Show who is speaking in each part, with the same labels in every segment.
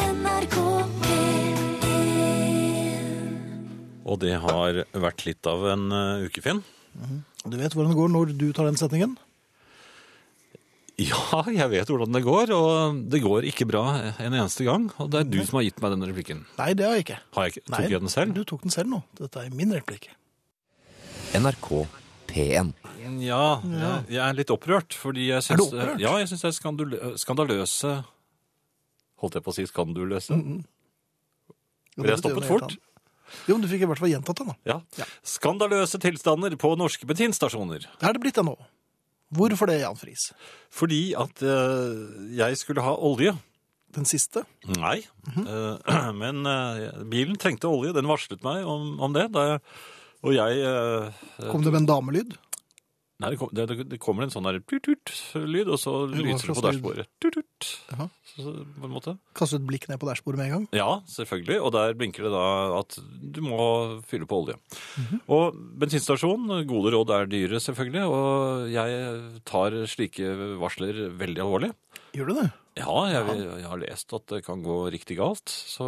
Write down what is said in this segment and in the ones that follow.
Speaker 1: NRK P1
Speaker 2: Og det har vært litt av en eh, uke, Finn.
Speaker 3: Du vet hvordan det går når du tar den setningen?
Speaker 2: Ja, jeg vet hvordan det går, og det går ikke bra en eneste gang. Og det er du som har gitt meg denne replikken.
Speaker 3: Nei, det har jeg ikke.
Speaker 2: Har jeg ikke?
Speaker 3: Nei,
Speaker 2: Tok jeg den selv?
Speaker 3: Du tok den selv nå. Dette er min replikk.
Speaker 4: NRK P1.
Speaker 2: Ja, ja, jeg er litt opprørt, fordi jeg
Speaker 3: Er du
Speaker 2: syns
Speaker 3: opprørt?
Speaker 2: Ja, jeg syns det er skandul- skandaløse Holdt jeg på å si skanduløse?
Speaker 3: Mm-hmm. Jo,
Speaker 2: Men
Speaker 3: det
Speaker 2: jeg stoppet
Speaker 3: betyr noe helt
Speaker 2: fort.
Speaker 3: annet. Jo, men du fikk i hvert fall gjentatt den, da.
Speaker 2: Ja. Skandaløse tilstander på norske bensinstasjoner.
Speaker 3: Det er det blitt det nå. Hvorfor det, Jan Friis?
Speaker 2: Fordi at eh, jeg skulle ha olje.
Speaker 3: Den siste?
Speaker 2: Nei, eh, men eh, bilen trengte olje. Den varslet meg om, om det. Da jeg, og jeg eh,
Speaker 3: Kom det med en damelyd?
Speaker 2: Nei, det, kom, det, det- det kommer en sånn der tut-tut-lyd, og så lyser det
Speaker 3: slags
Speaker 2: på dashbordet. Tut-tut.
Speaker 3: Jaha.
Speaker 2: Så- så- På en måte.
Speaker 3: Kastet et blikk ned på dashbordet med en gang?
Speaker 2: Ja, selvfølgelig. Og der blinker det da at du må fylle på olje.
Speaker 3: Mhm.
Speaker 2: Og bensinstasjon, gode råd er dyre, selvfølgelig. Og jeg tar slike varsler veldig alvorlig.
Speaker 3: Gjør du det?
Speaker 2: Ja, jeg, jeg har lest at det kan gå riktig galt, så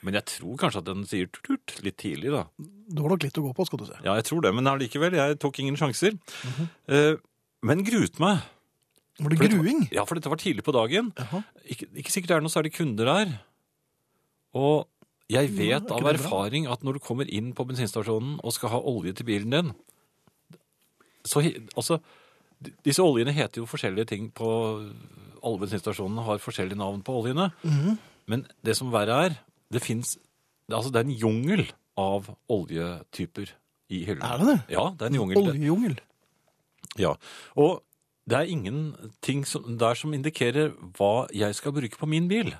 Speaker 2: Men jeg tror kanskje at den sier tut-tut litt tidlig, da.
Speaker 3: Du har nok litt å gå på, skal du se.
Speaker 2: Ja, jeg tror det, men allikevel, jeg tok ingen sjanser. Eh, men gruet meg. For
Speaker 3: Var det
Speaker 2: dette-
Speaker 3: gruing?
Speaker 2: Ja, for dette var tidlig på dagen.
Speaker 3: Jaha.
Speaker 2: Ikke, ikke sikkert det er noe særlig kunder her. Og jeg vet
Speaker 3: er ikke
Speaker 2: av
Speaker 3: det bra?
Speaker 2: erfaring at når du kommer inn på bensinstasjonen og skal ha olje til bilen din Så he- altså d- Disse oljene heter jo forskjellige ting på Alle bensinstasjonene har forskjellige navn på oljene.
Speaker 3: Mhm.
Speaker 2: Men det som verre er, det fins Altså, det er en jungel av oljetyper i hyllene.
Speaker 3: Er det det?
Speaker 2: Ja, det er en jungel. Det-
Speaker 3: Oljejungel.
Speaker 2: ja, og det er ingenting som, der som indikerer hva jeg skal bruke på min bil.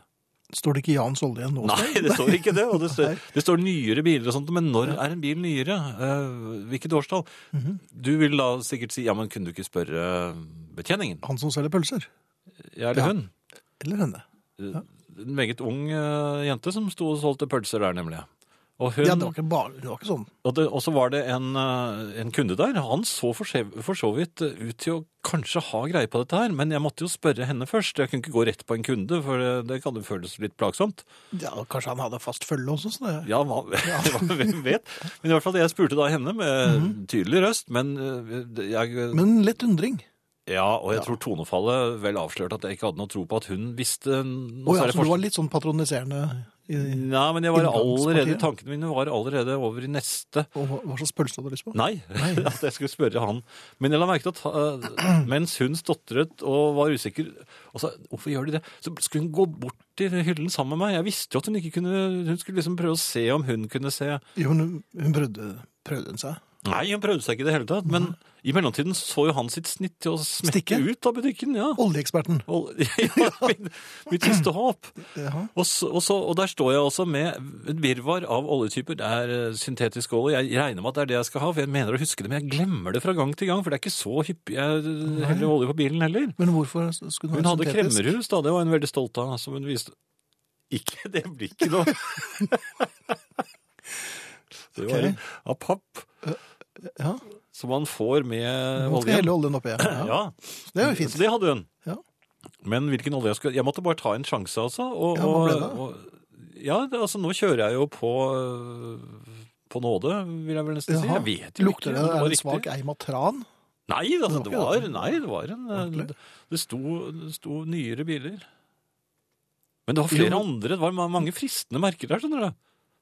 Speaker 3: Står det ikke Jans olje nå?
Speaker 2: Nei, det står ikke det. Og det, står, det står nyere biler og sånt, men når er en bil nyere? Eh, hvilket årstall? Du vil da sikkert si, ja, men kunne du ikke spørre eh, betjeningen?
Speaker 3: Han som selger pølser?
Speaker 2: Jeg
Speaker 3: Ja.
Speaker 2: eller hun?
Speaker 3: Eller henne?
Speaker 2: En meget ung eh, jente som sto og solgte pølser der, nemlig. Og hun,
Speaker 3: Ja, det var ikke, bare, det var ikke sånn.
Speaker 2: Og, det, og så var det en, eh, en kunde der. Han så for, se, for så vidt eh, ut til å kanskje ha greie på dette her, men jeg måtte jo spørre henne først. Jeg kunne ikke gå rett på en kunde, for det, det kan jo føles litt plagsomt.
Speaker 3: Ja, Kanskje han hadde fast følge også? Så det...
Speaker 2: Ja, hva, hva, hvem vet? Men i hvert fall, jeg spurte da henne med tydelig røst, men eh, det- jeg
Speaker 3: Mhm. Men lett undring.
Speaker 2: Ja, og jeg tror tonefallet vel avslørte at jeg ikke hadde noe tro på at hun visste noe
Speaker 3: Å ja,
Speaker 2: særlig
Speaker 3: så du
Speaker 2: forskjell.
Speaker 3: var litt sånn patroniserende i,
Speaker 2: Nei, men jeg var
Speaker 3: Inngangspartiet?
Speaker 2: allerede, tankene mine var allerede over i neste
Speaker 3: og hva, hva slags pølse hadde du lyst på?
Speaker 2: Nei, at jeg skulle spørre han. Men jeg la merke til at eh, mens hun stotret og var usikker og sa, Hvorfor gjør de det? Så skulle hun gå bort til hyllen sammen med meg. Jeg visste jo at hun ikke kunne Hun skulle liksom prøve å se om hun kunne se.
Speaker 3: Jo, men hun, hun prøvde, prøvde hun seg.
Speaker 2: Nei, hun prøvde seg ikke i det hele tatt. Men i mellomtiden så jo han sitt snitt til å smette
Speaker 3: Stikke?
Speaker 2: ut av butikken. ja.
Speaker 3: Oljeeksperten.
Speaker 2: Og, ja mitt, mitt siste håp.
Speaker 3: Jaha.
Speaker 2: Og, så, og, så, og der står jeg også med et virvar av oljetyper. Det er eh, syntetisk olje. Jeg regner med at det er det jeg skal ha, for jeg mener å huske det, men jeg glemmer det fra gang til gang, for det er ikke så hyppig jeg eh, heller olje på bilen heller.
Speaker 3: Men hvorfor skulle hun
Speaker 2: Hun
Speaker 3: ha
Speaker 2: hadde
Speaker 3: syntetisk?
Speaker 2: kremmerhus, da. Det var hun veldig stolt av, som hun viste. Ikke det blikket, da. det var en av papp
Speaker 3: Ja,
Speaker 2: som man får med
Speaker 3: Hun skal
Speaker 2: Eh, olje.
Speaker 3: helle oljen oppi. Ja.
Speaker 2: Ja,
Speaker 3: Det er jo
Speaker 2: så
Speaker 3: fint.
Speaker 2: det hadde hun.
Speaker 3: Ja.
Speaker 2: Men hvilken olje jeg skulle Jeg måtte bare ta en sjanse, altså. Og,
Speaker 3: Ja, hva ble det?
Speaker 2: og, og, ja det- altså nå kjører jeg jo på øh, på nåde, vil jeg vel nesten si.
Speaker 3: Jaha.
Speaker 2: Jeg vet jo
Speaker 3: Lukter
Speaker 2: ikke.
Speaker 3: det,
Speaker 2: om
Speaker 3: er
Speaker 2: var
Speaker 3: det
Speaker 2: riktig.
Speaker 3: svak eim av tran?
Speaker 2: Nei, altså, det
Speaker 3: var ikke
Speaker 2: var,
Speaker 3: det.
Speaker 2: nei, det var en øh,
Speaker 3: Ordentlig.
Speaker 2: Det sto, det sto nyere biler. Men det var flere
Speaker 3: Jo.
Speaker 2: andre. Det var ma- mange fristende merker der. skjønner du.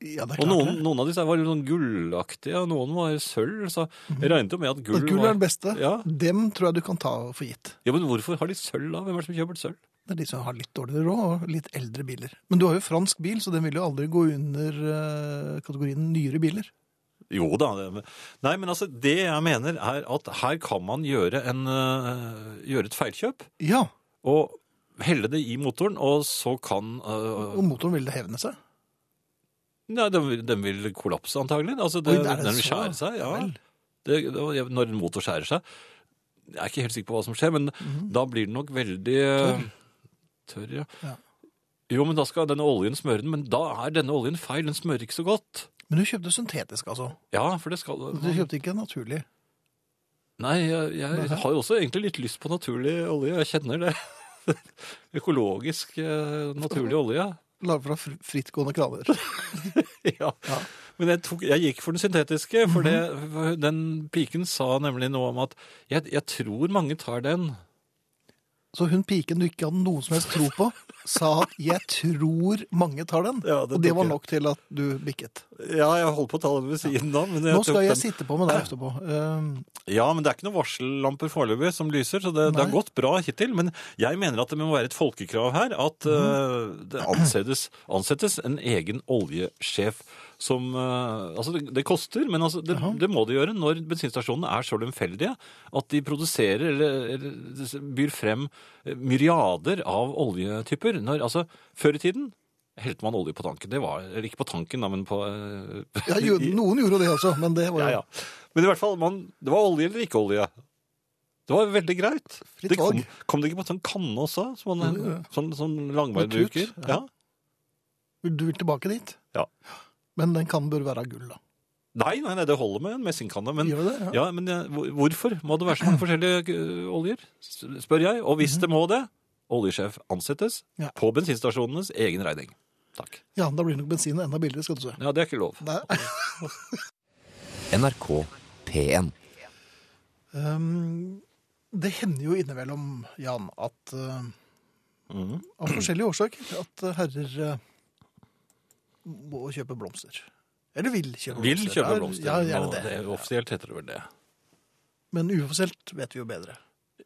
Speaker 3: Ja, det
Speaker 2: Og
Speaker 3: er klart
Speaker 2: noen,
Speaker 3: det.
Speaker 2: noen av disse var jo sånn gullaktige, og noen var sølv. Så jeg regnet jo med at gull
Speaker 3: At Mhm. gull er
Speaker 2: var
Speaker 3: den beste.
Speaker 2: Ja.
Speaker 3: Dem tror jeg du kan ta for gitt.
Speaker 2: Ja, Men hvorfor har de sølv, da? Hvem er det som kjøper sølv?
Speaker 3: Det er de som har litt dårligere råd og litt eldre biler. Men du har jo fransk bil, så den vil jo aldri gå under eh, kategorien nyere biler.
Speaker 2: Jo da. Det, nei, men altså, det jeg mener er at her kan man gjøre, en, øh, gjøre et feilkjøp
Speaker 3: Ja,
Speaker 2: og helle det i motoren, og så kan øh,
Speaker 3: og motoren vil det hevne seg.
Speaker 2: Nei, den, vil- den vil kollapse antagelig. Altså,
Speaker 3: Oi,
Speaker 2: det,
Speaker 3: er det
Speaker 2: den vil
Speaker 3: så?
Speaker 2: skjære seg. Ja.
Speaker 3: Vel.
Speaker 2: Det, det, og når en motor skjærer seg Jeg er ikke helt sikker på hva som skjer, men
Speaker 3: Mhm.
Speaker 2: da blir den nok veldig øh, tørr. ja.
Speaker 3: Ja.
Speaker 2: Jo, men da skal denne oljen smøre den, men da er denne oljen feil. Den smører ikke så godt.
Speaker 3: Men du kjøpte syntetisk, altså.
Speaker 2: Ja, for det skal
Speaker 3: Du kjøpte ikke naturlig.
Speaker 2: Nei, jeg, jeg har jo også egentlig litt lyst på naturlig olje. Jeg kjenner det. Økologisk, eh, naturlig olje.
Speaker 3: Laget fra fr- frittgående kraner.
Speaker 2: ja. Men jeg, tok, jeg gikk for den syntetiske, for det, den piken sa nemlig noe om at jeg, jeg tror mange tar den.
Speaker 3: Så hun piken du ikke hadde noen som helst tro på, sa at 'jeg tror mange tar den'.
Speaker 2: Ja, det
Speaker 3: og det
Speaker 2: tok
Speaker 3: var
Speaker 2: jeg.
Speaker 3: nok til at du bikket.
Speaker 2: Ja, jeg holdt på å ta den ved siden av. Men jeg
Speaker 3: Nå
Speaker 2: tok
Speaker 3: skal jeg
Speaker 2: den.
Speaker 3: sitte på med deg etterpå. Ehm,
Speaker 2: Ja, men det er ikke noen varsellamper foreløpig som lyser, så det, det har
Speaker 3: Nei.
Speaker 2: gått bra hittil. Men jeg mener at det må være et folkekrav her at eh,
Speaker 3: Mhm.
Speaker 2: det ansettes, ansettes en egen oljesjef som eh, Altså, det, det koster, men altså, det, det må det gjøre når bensinstasjonene er så lemfeldige at de produserer eller, eller byr frem eh, myriader av oljetyper. Når, altså, før i tiden helte man olje på tanken. Det var, eller ikke på tanken, da, men på eh,
Speaker 3: ja, jo,
Speaker 2: i-
Speaker 3: noen gjorde det også, men det var jo
Speaker 2: ja, ja. Men i hvert fall, man, det var olje eller ikke olje. Det var veldig greit.
Speaker 3: Fritt
Speaker 2: Det kom,
Speaker 3: valg.
Speaker 2: kom det ikke på en sånn kanne også? Som man,
Speaker 3: Jo, ja.
Speaker 2: sånn, sånn langbein
Speaker 3: Med tut,
Speaker 2: bruker?
Speaker 3: ja.
Speaker 2: Ja.
Speaker 3: Du vil tilbake dit?
Speaker 2: Ja.
Speaker 3: Men den kan bør være av gull, da.
Speaker 2: Nei, nei, nei, det holder med en messingkanne. Men,
Speaker 3: Gjør det?
Speaker 2: ja, men jeg- hvor- hvorfor må det være så mange forskjellige ø, oljer? S- Spør jeg. Og hvis det må det, oljesjef ansettes
Speaker 3: Mhm. Ja.
Speaker 2: på bensinstasjonenes egen regning. Takk.
Speaker 3: Ja, da blir nok bensinen enda billigere, skal du se.
Speaker 2: Ja, det er ikke lov.
Speaker 3: Nei.
Speaker 4: NRK P1.
Speaker 3: Ehm, det hender jo innimellom, Jan, at eh,
Speaker 2: Mhm.
Speaker 3: av forskjellige årsaker at eh, herrer eh, må kjøpe blomster. Eller vil kjøpe
Speaker 2: Vil
Speaker 3: blomster.
Speaker 2: kjøpe
Speaker 3: Ja,
Speaker 2: blomster.
Speaker 3: Ja, gjerne
Speaker 2: og
Speaker 3: det.
Speaker 2: er- Offisielt heter det vel det.
Speaker 3: Men uoffisielt vet vi jo bedre.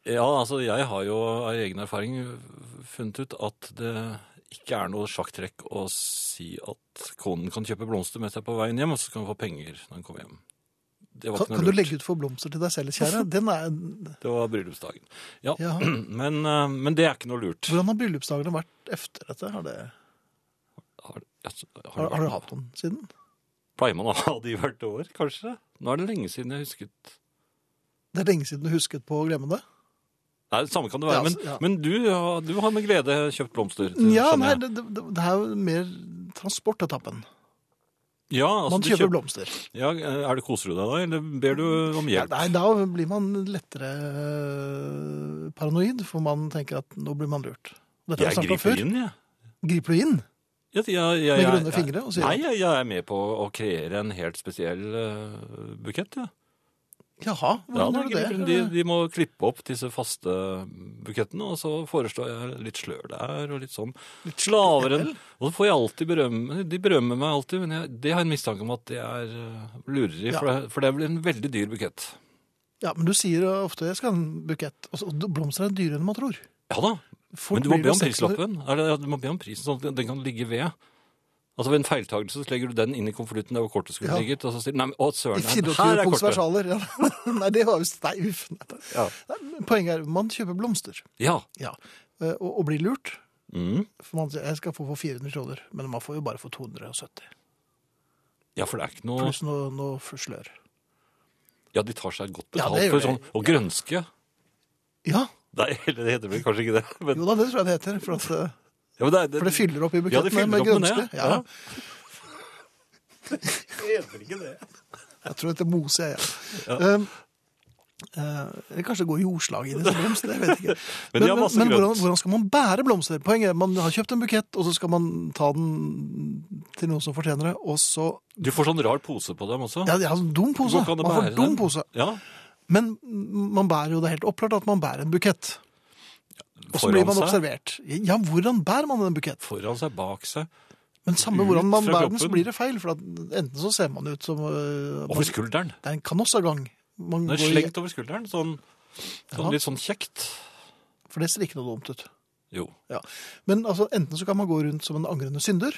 Speaker 2: Ja, altså jeg har jo av egen erfaring funnet ut at det ikke er noe sjakktrekk å si at konen kan kjøpe blomster mens jeg er på veien hjem, og så kan hun få penger når hun kommer hjem. Det var
Speaker 3: Kan,
Speaker 2: ikke
Speaker 3: kan
Speaker 2: noe
Speaker 3: du
Speaker 2: lurt.
Speaker 3: legge ut for blomster til deg selv, kjære? Den er,
Speaker 2: Det var bryllupsdagen. Ja,
Speaker 3: ja.
Speaker 2: men, eh, men det er ikke noe lurt.
Speaker 3: Hvordan har bryllupsdagene vært efter dette? Har, det,
Speaker 2: Har, altså, har,
Speaker 3: har,
Speaker 2: det
Speaker 3: har du
Speaker 2: vært-
Speaker 3: hatt noen siden?
Speaker 2: Pleier man å ha de hvert år, kanskje? Nå er det lenge siden jeg husket
Speaker 3: Det er lenge siden du husket på å glemme det.
Speaker 2: Nei, det samme kan det være,
Speaker 3: Ja,
Speaker 2: men,
Speaker 3: altså, ja.
Speaker 2: men du, har- du har med glede kjøpt blomster. det
Speaker 3: Ja,
Speaker 2: skjønner
Speaker 3: nei,
Speaker 2: jeg.
Speaker 3: det, det, det er jo mer transportetappen.
Speaker 2: ja, altså,
Speaker 3: Man
Speaker 2: du
Speaker 3: kjøper
Speaker 2: kjøp-
Speaker 3: blomster.
Speaker 2: Ja, eh, er det koser du deg da, eller ber du om
Speaker 3: Ja,
Speaker 2: hjelp?
Speaker 3: nei, da blir man lettere øh, paranoid, for man tenker at nå blir man lurt. Dette har
Speaker 2: jeg
Speaker 3: vi snakket om
Speaker 2: griper
Speaker 3: før.
Speaker 2: inn, jeg.
Speaker 3: Griper du inn?
Speaker 2: Jeg, jeg, jeg,
Speaker 3: Med
Speaker 2: jeg-
Speaker 3: grønne fingre og sier
Speaker 2: Nei,
Speaker 3: at-
Speaker 2: jeg, jeg er med på å kreere en helt spesiell eh, bukett. Ja.
Speaker 3: Jaha,
Speaker 2: Ja,
Speaker 3: hvordan
Speaker 2: da,
Speaker 3: gjør du
Speaker 2: griper-
Speaker 3: det?
Speaker 2: de, de må klippe opp disse faste bukettene, og så foreslår jeg litt slør der og litt sånn. Litt slaveren. Og så får jeg alltid berømme. De berømmer meg alltid, men jeg, det har jeg en mistanke om at det er eh, lureri, for, det, for det blir en veldig dyr bukett.
Speaker 3: Ja, men du sier ofte jeg skal ha en bukett. Og så- og blomster er dyrere enn man tror.
Speaker 2: Ja da,
Speaker 3: Fort
Speaker 2: men du må
Speaker 3: blir
Speaker 2: be
Speaker 3: det
Speaker 2: om
Speaker 3: 600
Speaker 2: prislappen. Er det- ja, Du må be om prisen sånn at den- den kan ligge ved. Altså Ved en feiltagelse så legger du den inn i konvolutten der hvor kortet skulle
Speaker 3: Ja.
Speaker 2: ligget. Og så sier du nei, men å søren,
Speaker 3: I
Speaker 2: her- her
Speaker 3: 24
Speaker 2: er
Speaker 3: punks
Speaker 2: kortet.
Speaker 3: versaler. Ja. Nei, det var jo steif. Poenget er, man kjøper blomster.
Speaker 2: Ja.
Speaker 3: Ja. Eh, Og, og blir lurt.
Speaker 2: Mm.
Speaker 3: For man sier, jeg skal få for 400 kroner, men man får jo bare for 270.
Speaker 2: Ja, for det er ikke noe
Speaker 3: Pluss noe, noe slør.
Speaker 2: Ja, de tar seg godt
Speaker 3: Ja,
Speaker 2: betalt
Speaker 3: det gjør
Speaker 2: for
Speaker 3: de.
Speaker 2: sånn. Og grønske.
Speaker 3: Ja,
Speaker 2: Nei, eller det heter vel kanskje ikke det. Men,
Speaker 3: jo da, det tror jeg det heter. For, at, eh,
Speaker 2: ja, men det, er- det,
Speaker 3: for det fyller opp i
Speaker 2: Ja, det
Speaker 3: buketten
Speaker 2: fyller
Speaker 3: med
Speaker 2: opp med det,
Speaker 3: grønske.
Speaker 2: ja.
Speaker 3: Ja.
Speaker 2: heter ikke det.
Speaker 3: Jeg tror det heter mose, jeg.
Speaker 2: Ja.
Speaker 3: Ja. Um, eh, eller kanskje det går jordslag i det som blomster, jeg vet ikke.
Speaker 2: Men de har masse
Speaker 3: men,
Speaker 2: grønt.
Speaker 3: hvordan, hvordan skal man bære blomster? Poenget er man har kjøpt en bukett, og så skal man ta den til noen som fortjener det, og så
Speaker 2: Du får sånn rar pose på dem også.
Speaker 3: Ja, de har sånn dum pose.
Speaker 2: Går ikke an å
Speaker 3: Man får
Speaker 2: bære
Speaker 3: dum
Speaker 2: den.
Speaker 3: pose.
Speaker 2: Ja,
Speaker 3: Men man bærer jo det er helt opplagt at man bærer en bukett. Og så blir man
Speaker 2: seg,
Speaker 3: observert. Ja, hvordan bærer man en bukett?
Speaker 2: Foran seg, bak seg.
Speaker 3: Men samme
Speaker 2: Ut
Speaker 3: hvordan man
Speaker 2: fra
Speaker 3: bærer den, så
Speaker 2: kroppen.
Speaker 3: blir det feil. For at enten så ser man ut som øh,
Speaker 2: Over
Speaker 3: man,
Speaker 2: skulderen.
Speaker 3: Det er en kanossagang. Man
Speaker 2: Den er
Speaker 3: går i-
Speaker 2: slengt over skulderen. Sånn,
Speaker 3: Ja.
Speaker 2: sånn litt sånn kjekt.
Speaker 3: For det ser ikke noe dumt ut.
Speaker 2: Jo.
Speaker 3: Ja. Men altså, enten så kan man gå rundt som en angrende synder,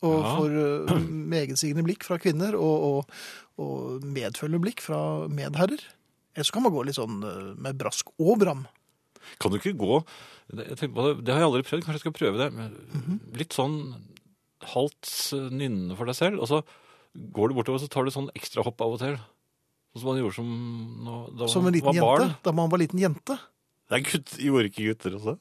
Speaker 3: og
Speaker 2: Ja.
Speaker 3: får uh, megetsigende blikk fra kvinner, og, og, og medfølgende blikk fra medherrer. Eller så kan man gå litt sånn øh, med brask og bram.
Speaker 2: Kan du ikke gå det- jeg tenker på det, det har jeg aldri prøvd, kanskje jeg skal prøve det. Men
Speaker 3: Mhm.
Speaker 2: Litt sånn halvt eh, nynnende for deg selv, og så går du bortover og så tar du sånn ekstra hopp av og til. Sånn som man gjorde som nå- da
Speaker 3: Som
Speaker 2: man
Speaker 3: en liten
Speaker 2: var
Speaker 3: jente.
Speaker 2: barn.
Speaker 3: Da man var liten jente.
Speaker 2: Nei, gutt, gjorde ikke gutter også?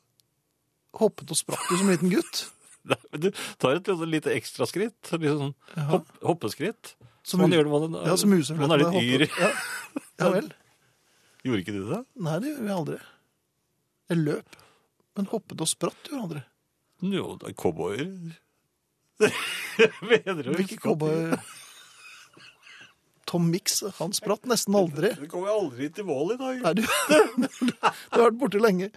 Speaker 3: Hoppet og sprakk jo som en liten gutt.
Speaker 2: Nei, men du tar et lite, lite ekstra skritt, litt sånn
Speaker 3: Ja.
Speaker 2: hopp, hoppeskritt. Som
Speaker 3: Som
Speaker 2: man
Speaker 3: mus-
Speaker 2: sånn gjør når man,
Speaker 3: Ja, som musefletten.
Speaker 2: man er litt
Speaker 3: hoppet.
Speaker 2: yr.
Speaker 3: Ja. ja vel.
Speaker 2: Gjorde ikke du det?
Speaker 3: Nei, det gjorde jeg aldri. Jeg løp, men hoppet og spratt gjorde jeg aldri.
Speaker 2: Jo, det er cowboyer. Mener du?
Speaker 3: Hvilke cowboy... Tom Mix, han spratt nesten aldri.
Speaker 2: Du kommer aldri til mål i dag.
Speaker 3: Nei, du, du har vært borte lenge.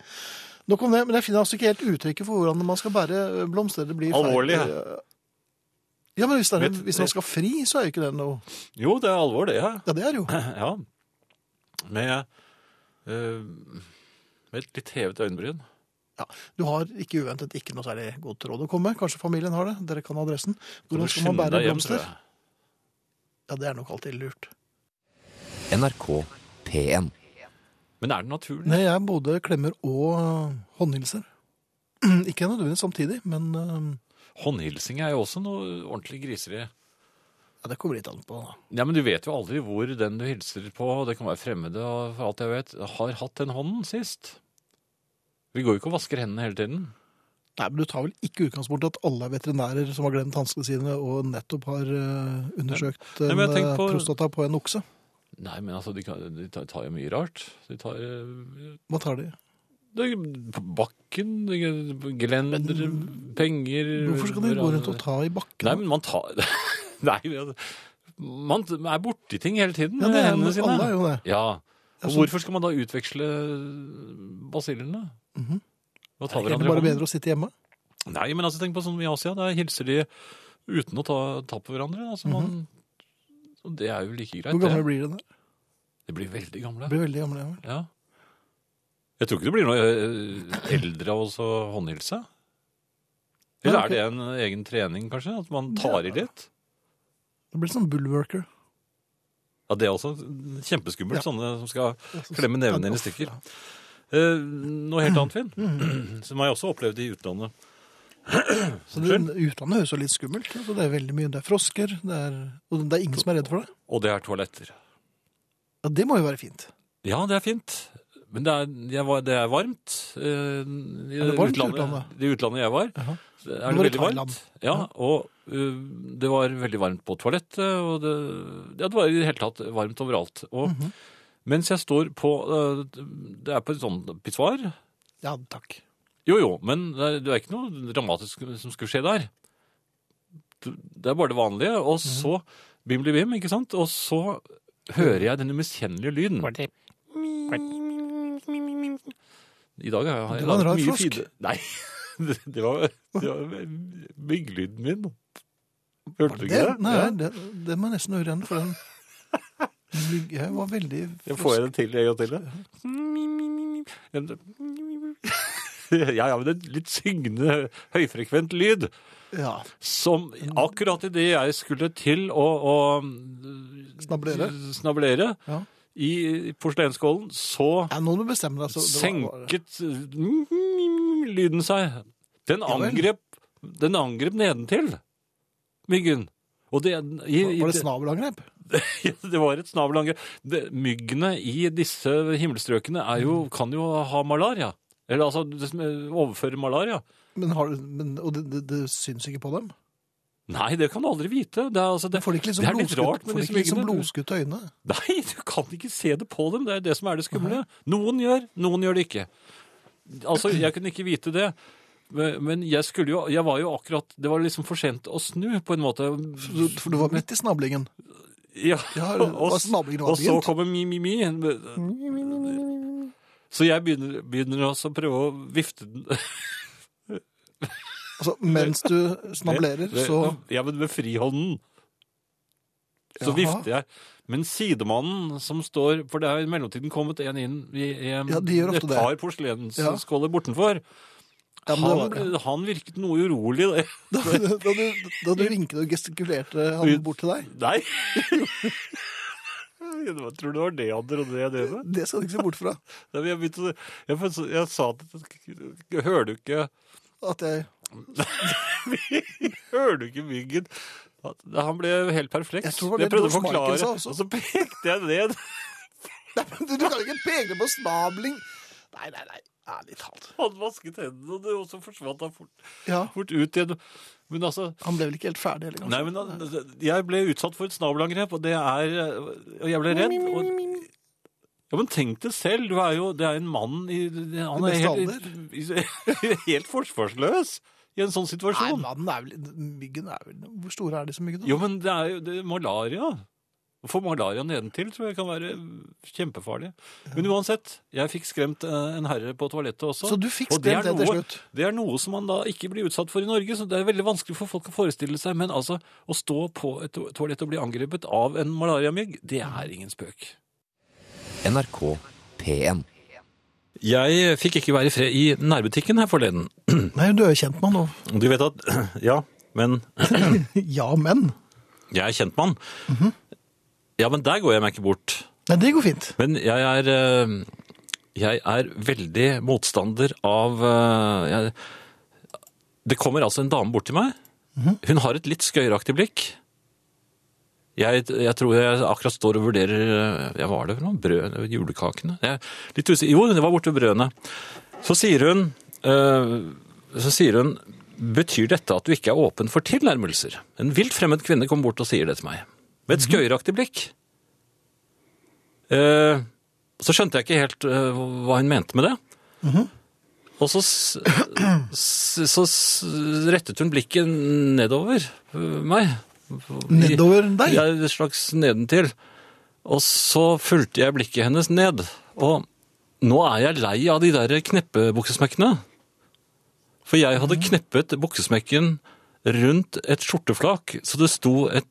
Speaker 3: Nok om det, men jeg finner altså ikke helt uttrykket for hvordan man skal bære blomster. Det blir feil.
Speaker 2: Alvorlig, ja.
Speaker 3: Ja, men hvis, det er,
Speaker 2: Vet-
Speaker 3: hvis man skal fri, så er jo ikke det noe
Speaker 2: Jo, det er alvor, det. Ja.
Speaker 3: Ja, det er jo.
Speaker 2: ja. Med, eh, med et litt hevet øyenbryn.
Speaker 3: Ja. Du har ikke uventet ikke noe særlig godt råd å komme. Kanskje familien har det. Dere kan adressen. Hvordan skal man bære blomster? Ja, det er nok alltid lurt.
Speaker 4: NRK P1.
Speaker 2: Men er det naturlig?
Speaker 3: Nei, jeg både klemmer og øh, håndhilser. Ikke nødvendigvis samtidig, men øh,
Speaker 2: Håndhilsing er jo også noe ordentlig griseri.
Speaker 3: ja, det kommer litt an på. da.
Speaker 2: Ja, men du vet jo aldri hvor den du hilser på, det kan være fremmede og for alt jeg vet, har hatt den hånden sist. Vi går jo ikke og vasker hendene hele tiden.
Speaker 3: Nei, men Du tar vel ikke utgangspunkt i at alle er veterinærer som har glemt hanskene sine og nettopp har øh, undersøkt
Speaker 2: Nei,
Speaker 3: en
Speaker 2: men jeg tenker
Speaker 3: øh,
Speaker 2: på-
Speaker 3: prostata på en okse?
Speaker 2: Nei, men altså, de, kan, de tar, tar jo mye rart. De tar eh,
Speaker 3: Hva tar de?
Speaker 2: det er på bakken, det er gelendere, penger
Speaker 3: Hvorfor skal de gå rundt og ta i bakken?
Speaker 2: Nei, men man tar Nei, men- altså, man er borti ting hele tiden
Speaker 3: ja,
Speaker 2: med
Speaker 3: det er,
Speaker 2: hendene sine.
Speaker 3: Alle er jo det. sånn-
Speaker 2: Ja.
Speaker 3: Ja,
Speaker 2: Og
Speaker 3: så-
Speaker 2: hvorfor skal man da utveksle eh, basillene? Og ta
Speaker 3: Mhm. Er det
Speaker 2: hverandre i
Speaker 3: ikke bare
Speaker 2: hånden?
Speaker 3: bedre å sitte hjemme?
Speaker 2: Nei, men altså, tenk på sånn i Asia, der hilser de uten å ta, ta på hverandre. Altså, man, og det er jo like greit.
Speaker 3: Mhm. Hvor gamle
Speaker 2: det.
Speaker 3: blir de der?
Speaker 2: De blir veldig gamle.
Speaker 3: De blir veldig gamle. ja vel.
Speaker 2: Ja. Jeg tror ikke det blir noe eh, eldre av å håndhilse. Eller
Speaker 3: Nei, ok.
Speaker 2: er det en egen trening, kanskje? At man tar i litt?
Speaker 3: Det blir sånn bullworker.
Speaker 2: Ja, Det er også kjempeskummelt,
Speaker 3: Ja.
Speaker 2: sånne som skal
Speaker 3: Ja, så-
Speaker 2: klemme nevene dine i
Speaker 3: Uff,
Speaker 2: stykker.
Speaker 3: ja.
Speaker 2: Eh, noe helt annet, Finn, som jeg også opplevde i utlandet.
Speaker 3: Så det, utlandet høres jo litt skummelt. ut, og det er veldig mye. Det er frosker, det er, og det er ingen som er redd for det.
Speaker 2: Og det er toaletter.
Speaker 3: Ja, Det må jo være fint.
Speaker 2: Ja, det er fint. Men det er, jeg var, det er varmt. eh, i
Speaker 3: Er det varmt i
Speaker 2: utlandet-
Speaker 3: utlandet?
Speaker 2: I utlandet jeg var.
Speaker 3: Jaha.
Speaker 2: Det
Speaker 3: var
Speaker 2: er
Speaker 3: i
Speaker 2: det veldig
Speaker 3: Thailand.
Speaker 2: varmt. Ja,
Speaker 3: Ja.
Speaker 2: og eh, det var veldig varmt på toalettet, og det, ja, det var i det hele tatt varmt overalt. Og
Speaker 3: Mhm.
Speaker 2: mens jeg står på eh, Det er på et sånt pissoar.
Speaker 3: Ja, takk.
Speaker 2: Jo, jo, men det er, det er ikke noe dramatisk som skulle skje der. Du- Det er bare det vanlige, og
Speaker 3: Mhm.
Speaker 2: så bimli-bim, ikke sant? Og så hører jeg den umiskjennelige lyden. I dag har jeg har jeg
Speaker 3: Det var en
Speaker 2: laget
Speaker 3: rar
Speaker 2: mye
Speaker 3: frosk.
Speaker 2: fide- Nei, det, det var, det var mygglyden min. Hørte du
Speaker 3: Det,
Speaker 2: ikke det?
Speaker 3: nei,
Speaker 2: Ja.
Speaker 3: det, det må jeg nesten høre igjen, for den Jeg var veldig
Speaker 2: Jeg får jeg det til en gang til? ja. Ja, ja, men det er litt syngende, høyfrekvent lyd.
Speaker 3: Ja,
Speaker 2: Som akkurat idet jeg skulle til å, å
Speaker 3: Snablere?
Speaker 2: snablere
Speaker 3: ja.
Speaker 2: i porselensskålen, så
Speaker 3: ja nå må du bestemme deg. så det var-
Speaker 2: senket mm, lyden seg. Den
Speaker 3: Ja vel.
Speaker 2: angrep, den angrep nedentil, myggen. Og det, i,
Speaker 3: Var, var det
Speaker 2: det,
Speaker 3: snabelangrep?
Speaker 2: det var et snabelangrep. Det- Myggene i disse himmelstrøkene er jo, kan jo ha malaria. Eller altså det som overfører malaria.
Speaker 3: Men har, men, og det, det, det syns ikke på dem?
Speaker 2: Nei, det kan du aldri vite. Det er, altså, det,
Speaker 3: Får de ikke liksom
Speaker 2: det er litt
Speaker 3: blodskutt-
Speaker 2: rart med
Speaker 3: får de
Speaker 2: disse
Speaker 3: ikke liksom
Speaker 2: myggene.
Speaker 3: blodskutte øyne?
Speaker 2: Nei, du kan ikke se det på dem. Det er det som er det skumle. Noen gjør, noen gjør det ikke. Altså, jeg kunne ikke vite det. Men men jeg skulle jo Jeg var jo akkurat Det var liksom for sent å snu, på en måte.
Speaker 3: For- For du var midt i snablingen.
Speaker 2: Ja,
Speaker 3: Ja,
Speaker 2: og,
Speaker 3: hva snablingen var
Speaker 2: og så
Speaker 3: begynt.
Speaker 2: kommer mi-mi-mi. Så jeg begynner, begynner også å prøve å vifte den
Speaker 3: Altså, mens du snablerer, så
Speaker 2: Ja, men med frihånden. Så
Speaker 3: Jaha.
Speaker 2: vifter jeg. Men sidemannen som står For det er i mellomtiden kommet en inn i, i
Speaker 3: Ja, de gjør ofte
Speaker 2: et
Speaker 3: det.
Speaker 2: par
Speaker 3: Ja.
Speaker 2: porselensskåler bortenfor.
Speaker 3: Ja, men det
Speaker 2: han,
Speaker 3: var- ja.
Speaker 2: han virket noe urolig. det-
Speaker 3: da, da, du, da du vinket og gestikulerte han bort til deg.
Speaker 2: Nei! Jeg tror det var det han trodde jeg drev med.
Speaker 3: Det skal du ikke se bort fra.
Speaker 2: Nei, men Jeg, begynte, å- jeg, jeg, jeg sa det Hører du ikke
Speaker 3: At jeg,
Speaker 2: Hører du ikke myggen? At- Han ble helt perfekt.
Speaker 3: Jeg tror det var det
Speaker 2: prøvde å
Speaker 3: George Michael
Speaker 2: forklare,
Speaker 3: sa også.
Speaker 2: og så pekte jeg ned.
Speaker 3: nei, men du, du kan ikke peke på snabling! Nei, nei, nei. Ærlig talt.
Speaker 2: Han vasket hendene, og det også forsvant han fort,
Speaker 3: Ja,
Speaker 2: fort ut igjen. Men altså
Speaker 3: Han ble vel ikke helt ferdig heller,
Speaker 2: Nei, men al- jeg ble utsatt for et snabelangrep, og det er Og jeg ble redd. Og, ja, men tenk det selv. Du er jo Det er en mann i Han
Speaker 3: I
Speaker 2: er
Speaker 3: beste
Speaker 2: helt, helt forsvarsløs. i en sånn
Speaker 3: Nei,
Speaker 2: situasjon?
Speaker 3: mannen er vel, myggen er vel Hvor store er disse myggene?
Speaker 2: Jo, men det er jo det, er malaria. Å få malaria nedentil tror jeg kan være kjempefarlig. Men uansett, jeg fikk skremt eh, en herre på toalettet også.
Speaker 3: Så du fikk
Speaker 2: Og det er
Speaker 3: skremt det til
Speaker 2: noe-
Speaker 3: slutt?
Speaker 2: Det er noe som man da ikke blir utsatt for i Norge, så det er veldig vanskelig for folk å forestille seg. Men altså, å stå på et to- toalett og bli angrepet av en malariamygg, det er ingen spøk.
Speaker 4: NRK P1.
Speaker 2: Jeg fikk ikke være i fred i nærbutikken her forleden.
Speaker 3: Nei, du er jo kjent mann, og
Speaker 2: Du vet at Ja, men
Speaker 3: ja, men.
Speaker 2: jeg er kjentmann.
Speaker 3: Mhm.
Speaker 2: Ja, men der går jeg meg ikke bort.
Speaker 3: Nei, det går fint.
Speaker 2: Men jeg er, eh, jeg er veldig motstander av eh, jeg, Det kommer altså en dame bort til meg. Hun har et litt skøyeraktig blikk. Jeg, jeg tror jeg akkurat står og vurderer eh, Jeg var det for noen brød, julekakene? Jeg, er litt usikker. Jo, det var borte ved brødene. Så sier hun eh, Så sier hun Betyr dette at du ikke er åpen for tilnærmelser? En vilt fremmed kvinne kommer bort og sier det til meg. Med et skøyeraktig blikk. Eh, så skjønte jeg ikke helt eh, hva hun mente med det. Og så, s- s- så s- rettet hun blikket nedover eh, meg.
Speaker 3: Nedover deg?
Speaker 2: Ja, et slags nedentil. Og så fulgte jeg blikket hennes ned. Og nå er jeg lei av de der kneppe-buksesmekkene. For jeg hadde kneppet buksesmekken rundt et skjorteflak, så det sto et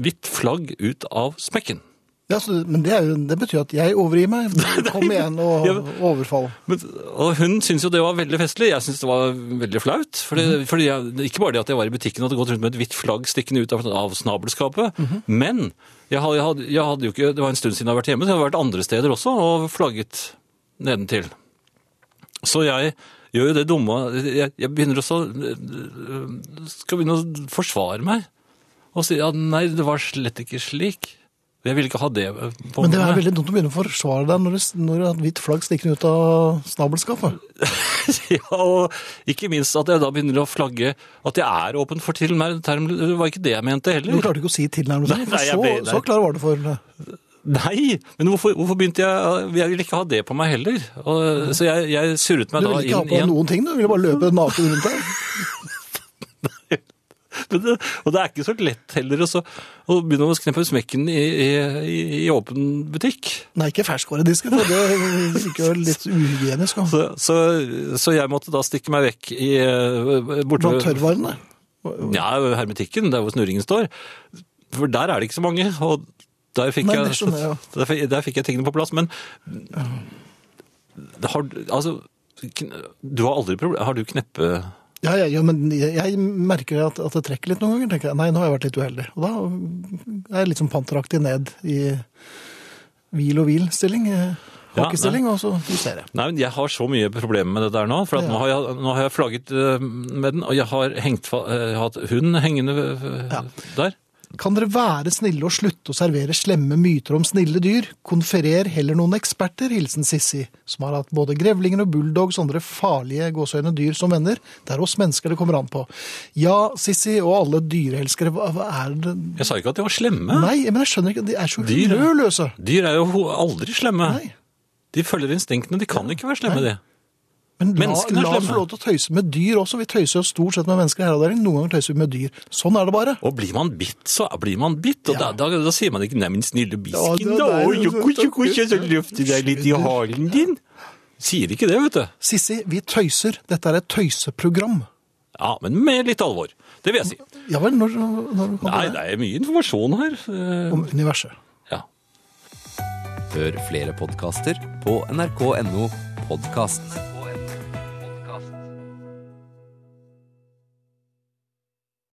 Speaker 2: hvitt flagg ut av smekken.
Speaker 3: Ja, så, men det, er jo, det betyr at jeg overgir meg. Kom igjen og
Speaker 2: Ja, men-
Speaker 3: overfall.
Speaker 2: Men, og hun syntes jo det var veldig festlig. Jeg syntes det var veldig flaut. Fordi,
Speaker 3: Mhm.
Speaker 2: fordi jeg, ikke bare det at jeg var i butikken og hadde gått rundt med et hvitt flagg stikkende ut av, av snabelskapet,
Speaker 3: Mhm.
Speaker 2: men jeg hadde, jeg, hadde, jeg hadde jo ikke Det var en stund siden jeg hadde vært hjemme, så jeg hadde vært andre steder også og flagget nedentil. Så jeg gjør jo det dumme Jeg, jeg begynner også å- Skal begynne å forsvare meg. Og si at nei, det var slett ikke slik. Jeg ville ikke ha det på
Speaker 3: Men det er
Speaker 2: meg.
Speaker 3: veldig dumt å begynne å forsvare deg når, det, når et hvitt flagg stikker ut av snabelskapet.
Speaker 2: ja, og ikke minst at jeg da begynner å flagge at jeg er åpen for tilnærmelse. Det var ikke det jeg mente
Speaker 3: Du
Speaker 2: heller.
Speaker 3: klarte ikke å si tilnærmelse,
Speaker 2: Nei,
Speaker 3: for
Speaker 2: nei, jeg
Speaker 3: så,
Speaker 2: ble- nei.
Speaker 3: så klar var du for det.
Speaker 2: Nei, men hvorfor, hvorfor begynte jeg Jeg ville ikke ha det på meg heller. Og, Så jeg, jeg surret
Speaker 3: Du
Speaker 2: meg da
Speaker 3: ville ikke ha
Speaker 2: inn
Speaker 3: på
Speaker 2: i en
Speaker 3: noen ting, du ville bare løpe naken rundt der.
Speaker 2: Men det, og det er ikke så lett heller å så- å begynne å kneppe smekken i, i, i, i åpen butikk.
Speaker 3: Nei, ikke ferskvaredisken, for det virker jo litt uhygienisk. da.
Speaker 2: Så, så, så jeg måtte da stikke meg vekk i eh, borte
Speaker 3: Blant tørrvarene.
Speaker 2: Ja, hermetikken, der hvor snurringen står. For der er det ikke så mange, og der fikk,
Speaker 3: Nei, det
Speaker 2: jeg,
Speaker 3: skjønner jeg,
Speaker 2: der, fikk- der fikk jeg tingene på plass. Men det har, altså, kn- du har aldri problem Har du kneppe
Speaker 3: Ja, ja, ja, men jeg, jeg merker at, at det trekker litt noen ganger. tenker jeg, Nei, nå har jeg vært litt uheldig. Og da er jeg litt sånn panteraktig ned i hvil og hvil-stilling. eh,
Speaker 2: Ja,
Speaker 3: Hockey-stilling, og så justerer jeg.
Speaker 2: Nei, men jeg har så mye problemer med det der nå. For at
Speaker 3: Ja.
Speaker 2: nå, har jeg, nå har jeg flagget eh, med den, og jeg har hengt, fa- eh, hatt hund hengende eh,
Speaker 3: Ja.
Speaker 2: der.
Speaker 3: Kan dere være snille og slutte å servere slemme myter om snille dyr? Konferer heller noen eksperter, hilsen Sissi, som har hatt både grevlinger og bulldogs og andre farlige gåseøyne dyr som venner. Det er oss mennesker det kommer an på. Ja, Sissi og alle dyreelskere, hva hva er det
Speaker 2: Jeg sa ikke at de var slemme.
Speaker 3: Nei, men jeg skjønner ikke, de er så
Speaker 2: Dyr, ja.
Speaker 3: rødløse.
Speaker 2: Dyr er jo ho- aldri slemme.
Speaker 3: Nei.
Speaker 2: De følger instinktene. De kan ikke være slemme, de.
Speaker 3: Men la,
Speaker 2: Menneskene er
Speaker 3: la oss
Speaker 2: slemme.
Speaker 3: få lov til å tøyse med dyr også. Vi tøyser jo stort sett med mennesker i herreavdelingen. Noen ganger tøyser vi med dyr. Sånn er det bare.
Speaker 2: Og blir man bitt, så blir man bitt. Og
Speaker 3: Ja.
Speaker 2: da, da, da sier man ikke 'nei, min snille bisken',
Speaker 3: Ja,
Speaker 2: da.
Speaker 3: det- det er
Speaker 2: Oi,
Speaker 3: jo
Speaker 2: joko,
Speaker 3: sånn-
Speaker 2: joko, joko, så løfter jeg deg litt i halen din. Sier ikke det, vet du.
Speaker 3: Sissi, vi tøyser. Dette er et tøyseprogram.
Speaker 2: Ja, men med litt alvor. Det vil jeg si.
Speaker 3: Ja vel, når, når kom
Speaker 2: Nei,
Speaker 3: det
Speaker 2: det er mye informasjon her. Eh,
Speaker 3: om universet?
Speaker 2: Ja.
Speaker 4: Hør flere podkaster på nrk.no podkast.